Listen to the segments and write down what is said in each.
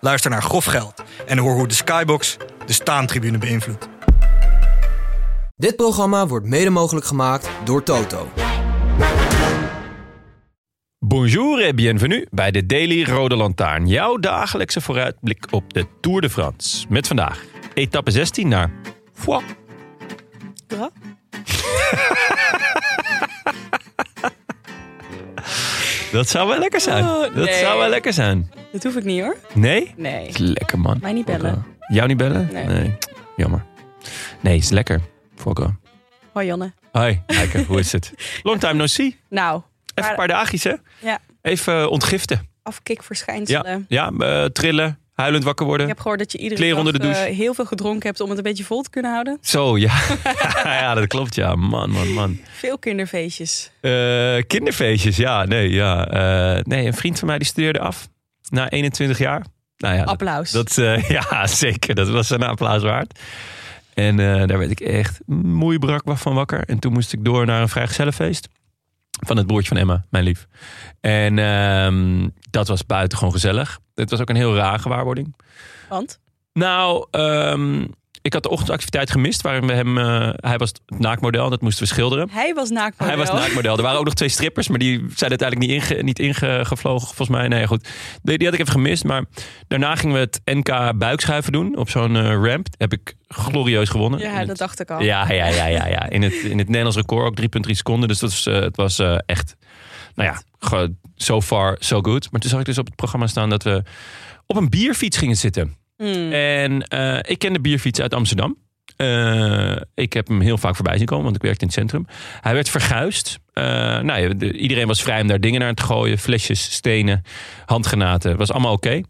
Luister naar Grof Geld en hoor hoe de Skybox de staantribune beïnvloedt. Dit programma wordt mede mogelijk gemaakt door Toto. Bonjour et bienvenue bij de Daily Rode Lantaarn. Jouw dagelijkse vooruitblik op de Tour de France. Met vandaag etappe 16 naar Foix. Dat zou wel lekker zijn. Oh, Dat nee. zou wel lekker zijn. Dat hoef ik niet hoor. Nee? Nee. Lekker man. Mij niet bellen. Volko. Jou niet bellen? Nee. Jammer. Nee, is lekker. Volko. Hoi Janne. Hoi, Eike, hoe is het? Long time no see. Even Nou, een paar dagjes hè? ja, Even eh, ontgiften. afkikverschijnselen. Ja, ja eh, trillen, huilend wakker worden. Ik heb gehoord dat je iedere Kleren dag onder de douche. eh, heel veel gedronken hebt om het een beetje vol te kunnen houden. Zo, ja. ja, dat klopt, ja. Man, man, man. Veel kinderfeestjes. Eh, kinderfeestjes, ja. Nee, ja. Eh, nee, een vriend van mij die studeerde af. Na 21 jaar. Nou ja, dat, Applaus. dat, eh, ja, zeker. Dat was een applaus waard. En eh, daar werd ik echt moeibrak van wakker. En toen moest ik door naar een vrijgezellenfeest. Van het broertje van Emma, mijn lief. En ehm, dat was buitengewoon gezellig. Het was ook een heel raar gewaarwording. Want? Nou, ehm, ik had de ochtendactiviteit gemist waarin we hem. eh, hij was het naakmodel, dat moesten we schilderen. Hij was naakmodel. Hij was het naakmodel. Er waren ook nog twee strippers, maar die zijn uiteindelijk niet, inge, niet ingevlogen, volgens mij. Nee, goed. Die, die had ik even gemist. Maar daarna gingen we het NK buikschuiven doen op zo'n eh, ramp. Heb ik glorieus gewonnen. In Ja, het- dat dacht ik al. ja, ja, ja, ja, ja. In het, in het Nederlands record ook 3,3 seconden. Dus dat was, eh, het was eh, echt, nou ja, ge- so far so good. Maar toen zag ik dus op het programma staan dat we op een bierfiets gingen zitten. Hmm. En eh, ik ken de bierfiets uit Amsterdam. Eh, ik heb hem heel vaak voorbij zien komen, want ik werkte in het centrum. Hij werd verguisd. Eh, nou, ja, de- iedereen was vrij om daar dingen naar te gooien. Flesjes, stenen, handgranaten. was allemaal oké.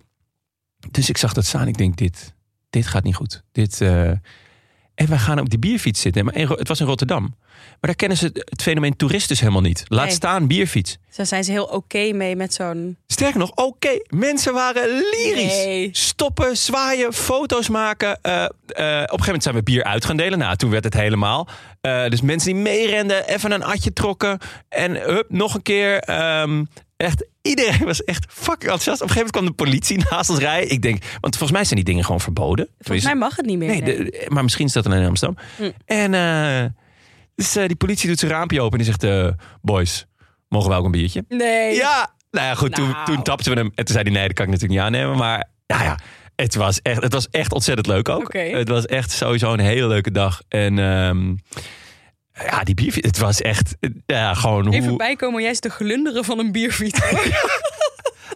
Dus ik zag dat staan. Ik denk, dit, dit gaat niet goed. Dit, eh, En wij gaan op die bierfiets zitten. Maar in Ro- het was in Rotterdam. Maar daar kennen ze het, het fenomeen toerist dus helemaal niet. Laat Nee. staan bierfiets. Daar zijn ze heel oké mee met zo'n... Sterker nog, oké, mensen waren lyrisch. Nee. Stoppen, zwaaien, foto's maken. Eh, eh, op een gegeven moment zijn we bier uit gaan delen. Nou, toen werd het helemaal. Eh, dus mensen die meerenden, even een atje trokken. En hup, nog een keer. Ehm, echt, iedereen was echt fucking enthousiast. Op een gegeven moment kwam de politie naast ons rijden. Ik denk, want volgens mij zijn die dingen gewoon verboden. Volgens mij mag het niet meer. Hm. Nee, nee. de- maar misschien is dat alleen in Amsterdam. En eh, dus eh, die politie doet zijn raampje open en die zegt... eh, boys, mogen wij ook een biertje? Nee. Ja, nou ja, goed. Toen, Nou. toen tapten we hem. En toen zei hij: Nee, dat kan ik natuurlijk niet aannemen. Maar nou ja, het was echt, het was echt ontzettend leuk ook. Oké. Het was echt sowieso een hele leuke dag. En ehm, ja, die bier, het was echt eh, ja, gewoon hoe. Even bijkomen, jij is de glunderen van een bierfiets.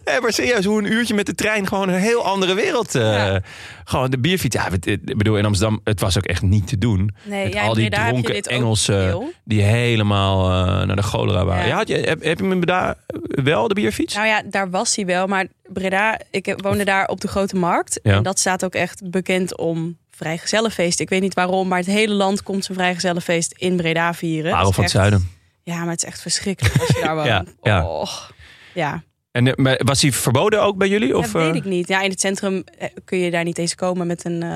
Nee, maar serieus, hoe een uurtje met de trein gewoon een heel andere wereld. eh, Ja. Gewoon de bierfiets. Ja, het- het- ik bedoel, in Amsterdam, het was ook echt niet te doen. Nee, met ja, al die Breda heb je dronken dit ook Engelsen veel. die helemaal eh, naar de cholera waren. Ja. Ja. had je, heb, heb je hem daar wel, de bierfiets? Nou ja, daar was hij wel. Maar Breda, ik woonde daar op de Grote Markt. Ja. En dat staat ook echt bekend om vrijgezellenfeest. Ik weet niet waarom, maar het hele land komt zijn vrijgezellenfeest in Breda vieren. Parel Het van is het echt- zuiden. Ja, maar het is echt verschrikkelijk als je daar woont. Ja, ja. Och. ja. En eh, maar was hij verboden ook bij jullie? Of, dat weet eh, ik niet. Ja, in het centrum eh, kun je daar niet eens komen met een... eh,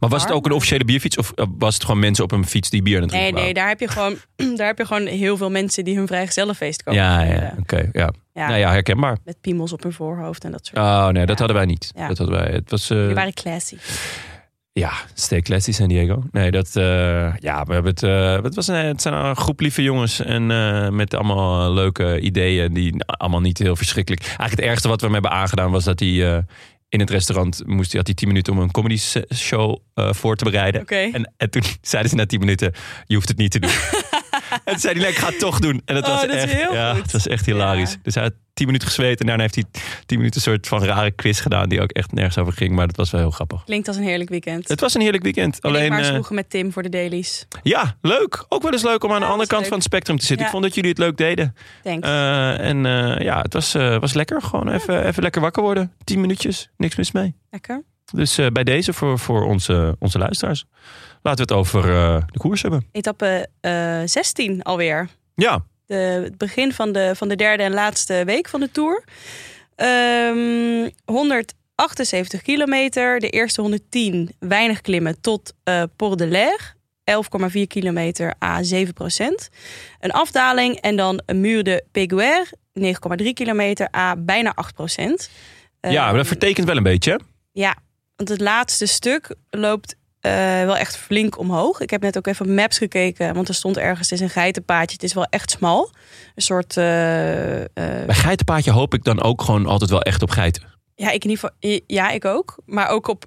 Maar was het Bar? ook een officiële bierfiets? Of eh, was het gewoon mensen op een fiets die bier aan het Nee, drinken nee, daar heb, je gewoon, daar heb je gewoon heel veel mensen die hun vrijgezellenfeest komen. waren? Ja, ja, vieren. oké. ja. Ja, Nou ja, herkenbaar. Met piemels op hun voorhoofd en dat soort Oh nee, dat Ja. hadden wij niet. Ja. Dat hadden wij. Het was... eh, Die waren classy. Ja, stay classy San Diego. Nee, dat... eh, ja, we hebben het... eh, het, was een, het zijn een groep lieve jongens. En eh, met allemaal eh, leuke ideeën. Die nou, allemaal niet heel verschrikkelijk... Eigenlijk het ergste wat we hem hebben aangedaan was dat hij... eh, in het restaurant moest hij, had hij 10 minuten om een comedy se- show eh, voor te bereiden. Oké. En, en toen zeiden ze na 10 minuten: Je hoeft het niet te doen. en toen zei hij: nee, Ik ga het toch doen. En dat Oh, was dat is echt, heel ja, goed. Het was echt hilarisch. Ja. Dus hij had 10 minuten gezweten. En daarna heeft hij 10 minuten een soort van rare quiz gedaan. Die ook echt nergens over ging. Maar dat was wel heel grappig. Klinkt als een heerlijk weekend. Het was een heerlijk weekend. En ik Alleen, maar eens eh, vroeger met Tim voor de dailies. ja, leuk. Ook wel eens leuk om aan de Ja, andere dat kant is van het spectrum te zitten. Ja. Ik vond dat jullie het leuk deden. Thanks. Eh, en eh, ja, het was, eh, was lekker. Gewoon even, even lekker wakker worden. 10 minuutjes. Niks mis mee. Lekker. Dus eh, bij deze voor, voor onze, onze luisteraars. Laten we het over eh, de koers hebben. Etappe eh 16 alweer. Ja, de, het begin van de, van de derde en laatste week van de Tour. Ehm 178 kilometer. De eerste 110 weinig klimmen tot eh Port de l'Air. 11,4 kilometer à 7 procent. Een afdaling en dan een muur de Péguer. 9,3 kilometer à bijna 8 procent. Eh, Ehm, ja maar dat vertekent wel een beetje. hè? Ja, want het laatste stuk loopt eh, wel echt flink omhoog. Ik heb net ook even op maps gekeken, want er stond ergens, het is een geitenpaadje. Het is wel echt smal. Een soort, eh, eh, Bij geitenpaadje hoop ik dan ook gewoon altijd wel echt op geiten. ja, ik in ieder geval, ja, ik ook. Maar ook op,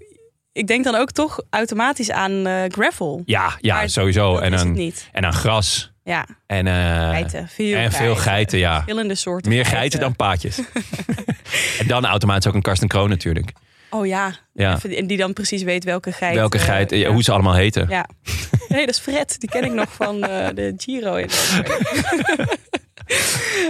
ik denk dan ook toch automatisch aan eh, gravel. Ja, ja Maar sowieso. Dat Oh, En is het aan, niet. en aan gras. Ja, En, eh, geiten. Veel en veel geiten, ja. Verschillende soorten Meer geiten dan paadjes. en dan automatisch ook een Karsten Kroon natuurlijk. Oh ja, Ja. Even- en die dan precies weet welke geit. Welke eh, geit, ja, ja. hoe ze allemaal heten. Ja. Nee, dat is Fred. Die ken ik nog van eh, de Giro. In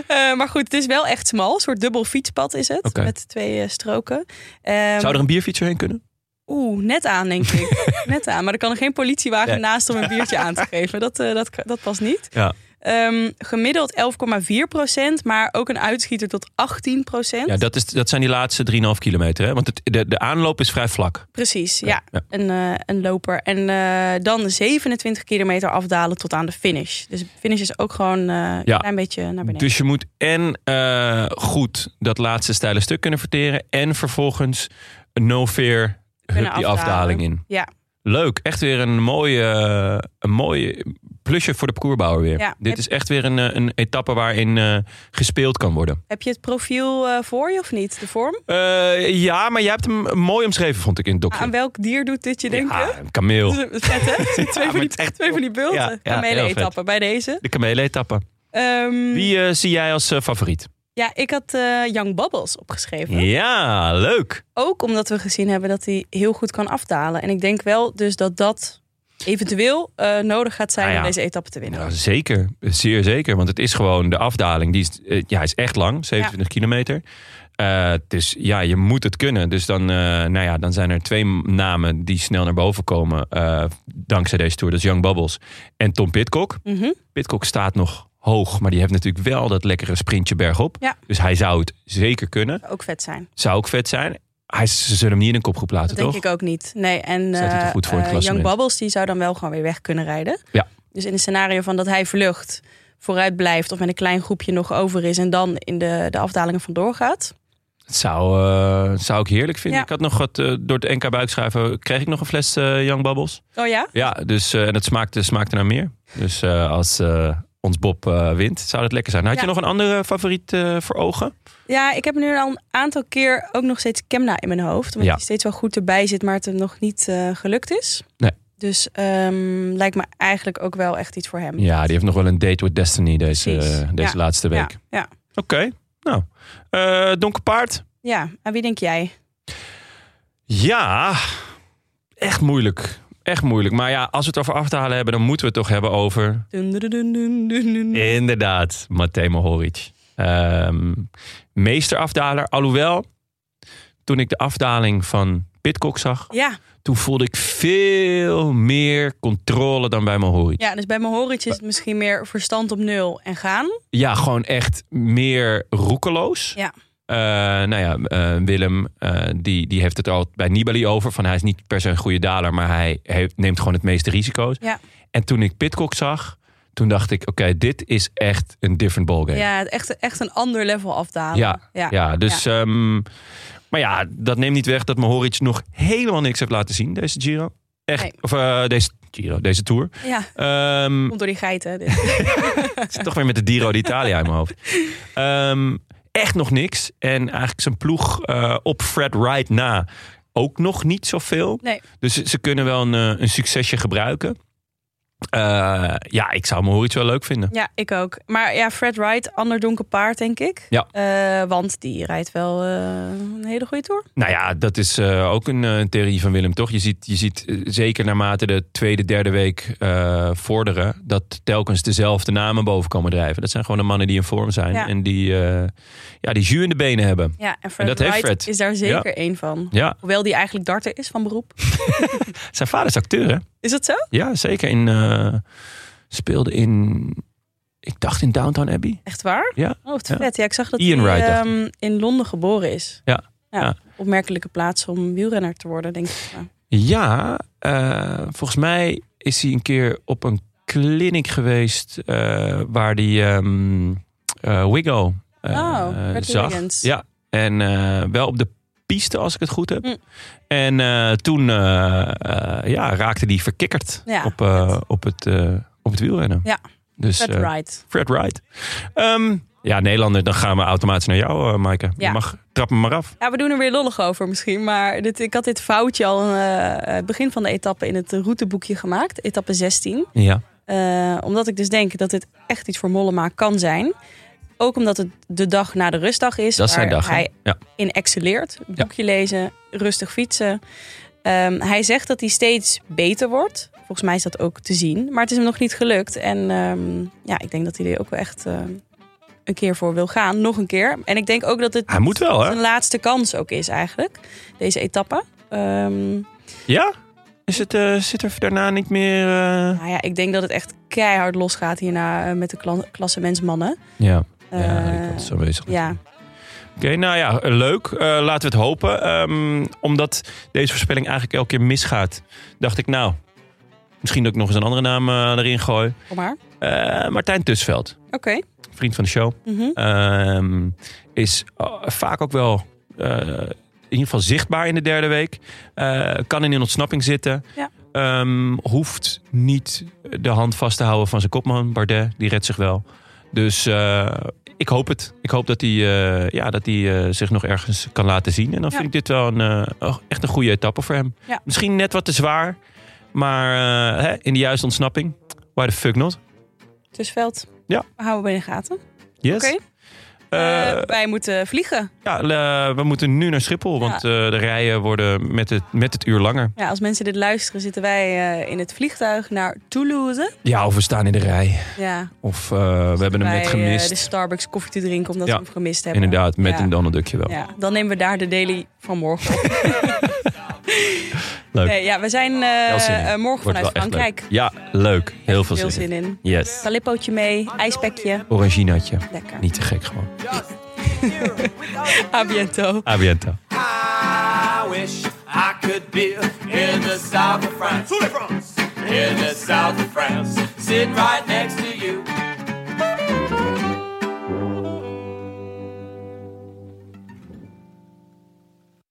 Eh, maar goed, het is wel echt smal. Een soort dubbel fietspad is het. Oké. Met twee eh, stroken. Ehm, Zou er een bierfietser heen kunnen? Oeh, net aan denk ik. net aan. Maar er kan er geen politiewagen Nee. naast om een biertje aan te geven. Dat, eh, dat, dat past niet. Ja. Ehm, gemiddeld 11,4 procent. Maar ook een uitschieter tot 18 procent. Ja, dat, is, dat zijn die laatste 3,5 kilometer. Hè? Want het, de, de aanloop is vrij vlak. Precies, ja. ja. Een, eh, een loper. En eh, dan 27 kilometer afdalen tot aan de finish. Dus de finish is ook gewoon eh, Ja. een klein beetje naar beneden. Dus je moet en eh, goed dat laatste steile stuk kunnen verteren. En vervolgens een no fear hup die afdalen. afdaling in. Ja. Leuk, echt weer een mooie, eh, een mooie plusje voor de parcoursbouwer weer. Ja. Dit is echt weer een, eh, een etappe waarin eh, gespeeld kan worden. Heb je het profiel eh, voor je of niet? De vorm? Eh, ja, maar jij hebt hem mooi omschreven, vond ik in het docje. Aan welk dier doet dit je Ah, denken? Ja, een kameel. Dat is vet, hè? Twee, maar van die, het is echt- twee van die bulten. Ja, ja, Ja, heel vet. etappen bij deze. De kamelen-etappe. Ehm, Wie eh, zie jij als eh, favoriet? Ja, ik had eh, Young Bubbles opgeschreven. Ja, leuk. Ook omdat we gezien hebben dat hij heel goed kan afdalen. En ik denk wel dus dat dat eventueel eh, nodig gaat zijn Nou ja. om deze etappe te winnen. Nou, zeker, zeer zeker. Want het is gewoon de afdaling. Die is, eh, ja, is echt lang, 27 kilometer. Eh, dus ja, je moet het kunnen. Dus dan, eh, nou ja, dan zijn er twee namen die snel naar boven komen eh, dankzij deze tour. Dat is Young Bubbles en Tom Pitcock. Mhm. Pitcock staat nog hoog, maar die heeft natuurlijk wel dat lekkere sprintje bergop. Ja. Dus hij zou het zeker kunnen. Ook vet zijn. Zou ook vet zijn. Hij, ze zullen hem niet in een kopgroep laten, Dat denk toch? ik ook niet. Nee, en Staat hij te eh, goed voor in het eh, Young klassement? Bubbles die zou dan wel gewoon weer weg kunnen rijden. Ja. Dus in het scenario van dat hij vlucht, vooruit blijft of met een klein groepje nog over is en dan in de, de afdalingen vandoor gaat. Dat zou, eh, zou ik heerlijk vinden. Ja. Ik had nog wat eh, door het NK buikschuiven. Kreeg ik nog een fles eh Young Bubbles? Oh ja? Ja, dus, eh, en het smaakte, smaakte naar meer. Dus eh, als eh, ons Bob eh, wint, zou dat lekker zijn. Had je Ja. nog een andere favoriet eh, voor ogen? Ja, ik heb nu al een aantal keer ook nog steeds Kemna in mijn hoofd. Omdat Ja. hij steeds wel goed erbij zit, maar het hem nog niet eh, gelukt is. Nee. Dus ehm, lijkt me eigenlijk ook wel echt iets voor hem. Ja, die heeft nog wel een date with destiny deze, Precies. eh, deze Ja. laatste ja, week. ja. Oké, nou. Eh donker paard. Ja, aan wie denk jij? Ja, echt moeilijk. Echt moeilijk. Maar ja, als we het over af te halen hebben, dan moeten we het toch hebben over... Dun, dun, dun, dun, dun, dun. Eh. Inderdaad, Matej Mohoric. Ehm, meesterafdaler. Alhoewel, toen ik de afdaling van Pitcock zag... Ja, toen voelde ik veel meer controle dan bij Mohoric. Ja, ja, dus bij mijn horentje is het misschien meer verstand op nul en gaan. gewoon echt meer roekeloos. Ja. Eh, nou ja, eh, Willem eh, die, die heeft het al bij Nibali over. Van hij is niet per se een goede daler, maar hij heeft, neemt gewoon het meeste risico's. Ja. En toen ik Pitcock zag, toen dacht ik: oké, dit is echt een different ballgame. Ja, echt, echt een ander level afdalen. Ja, ja. ja. dus. ehm, maar ja, dat neemt niet weg dat Mohoric nog helemaal niks heeft laten zien deze Giro. Echt, Nee. of eh, deze Giro, deze Tour. Ja, Ehm, komt door die geiten. dus. dit. Het is toch weer met de Giro d'Italia in mijn hoofd. Ehm, echt nog niks. En eigenlijk zijn ploeg eh, op Fred Wright na ook nog niet zoveel. Nee. Dus ze, ze kunnen wel een, eh, een succesje gebruiken. Eh, ja, ik zou Mohoric wel leuk vinden. Ja, ik ook. Maar ja, Fred Wright, ander donker paard, denk ik. Ja. Eh, want die rijdt wel eh, een hele goede tour. Nou ja, dat is eh, ook een eh, theorie van Willem, toch? Je ziet, je ziet eh, zeker naarmate de tweede, derde week eh, vorderen... dat telkens dezelfde namen boven komen drijven. Dat zijn gewoon de mannen die in vorm zijn. Ja. En die, eh, ja, die jus in de benen hebben. Ja, en Fred dat heeft Wright Fred. is daar zeker één van. Ja, Hoewel die eigenlijk darter is van beroep. zijn vader is acteur, hè? Is dat zo? Ja, zeker. In, eh, speelde in... Ik dacht in Downtown Abbey. Echt waar? Ja. Oh, wat Ja. vet. Ja, ik zag dat Ian hij Wright, dacht ehm, in Londen geboren is. Ja. ja. Ja. Opmerkelijke plaats om wielrenner te worden, denk ik. Ja. Ja, eh, volgens mij is hij een keer op een clinic geweest eh, waar die ehm, eh, Wiggo eh, Oh, Bradley zag. Wiggins. Ja, en eh, wel op de piste als ik het goed heb. Hm. En eh, toen eh, eh, ja, raakte die verkikkerd Ja, op, eh, vet. op, het, eh, op het wielrennen. Ja, dus, Fred eh, Wright. Fred Wright. Ehm, ja, Nederlander, dan gaan we automatisch naar jou, eh, Maaike. Ja. Je mag, trap me maar af. Ja, we doen er weer lollig over misschien. Maar dit, ik had dit foutje al eh, eh, begin van de etappe in het routeboekje gemaakt. Etappe 16. Ja. Eh, omdat ik dus denk dat dit echt iets voor Mollema kan zijn. Ook omdat het de dag na de rustdag is. Dat is zijn waar dag. hè? Hij Ja. in excelleert. Ja. Boekje lezen, rustig fietsen. Ehm, hij zegt dat hij steeds beter wordt. Volgens mij is dat ook te zien. Maar het is hem nog niet gelukt. En ehm, ja, ik denk dat hij er ook wel echt ehm, een keer voor wil gaan. Nog een keer. En ik denk ook dat het Hij moet wel, hè? zijn laatste kans ook is eigenlijk. Deze etappe. Ehm, Ja? Is het, eh, zit er daarna niet meer... eh, nou ja, ik denk dat het echt keihard losgaat hierna eh, met de kla klassementsmannen. Ja, Eh, die kant is aanwezig. ja. Oké, nou ja, leuk. Eh, laten we het hopen. Ehm, omdat deze voorspelling eigenlijk elke keer misgaat, dacht ik nou... Misschien dat ik nog eens een andere naam eh, erin gooi. Kom maar. Eh, Martijn Tusveld, Oké. vriend van de show. Mhm. Ehm, is eh, vaak ook wel eh, in ieder geval zichtbaar in de derde week. Eh, kan in een ontsnapping zitten. Ja. Ehm, hoeft niet de hand vast te houden van zijn kopman, Bardet. Die redt zich wel. Dus eh, ik hoop het. Ik hoop dat hij eh, ja, dat hij eh, zich nog ergens kan laten zien. En dan Ja. vind ik dit wel een, eh, oh, echt een goede etappe voor hem. Ja. Misschien net wat te zwaar. Maar eh, hè, in de juiste ontsnapping. Why the fuck not? Tusveld. Ja. We houden we in de gaten. Yes. Oké. Eh, Eh, wij moeten vliegen. Ja, le- we moeten nu naar Schiphol, want eh, de rijen worden met het, met het uur langer. Ja, als mensen dit luisteren, zitten wij eh, in het vliegtuig naar Toulouse. Ja, of we staan in de rij. Ja, Of eh, we hebben hem bij, net eh, de gemist. Starbucks koffie te drinken, omdat Ja, we hem gemist hebben. Inderdaad, met Ja. een Donald Duckje wel. Ja, dan nemen we daar de daily van morgen op. Leuk. Nee, ja, we zijn eh, Wel zin in. eh, morgen Wordt wel echt vanuit leuk. Frankrijk. Ja, leuk. Heel veel Veel zin in. zin in. Yes. Calippootje mee, ijspekje. Oranginaatje. Lekker. Niet te gek gewoon. A biento. Abiento. I wish I could be in the south of France. In the south of France. Sitting right next to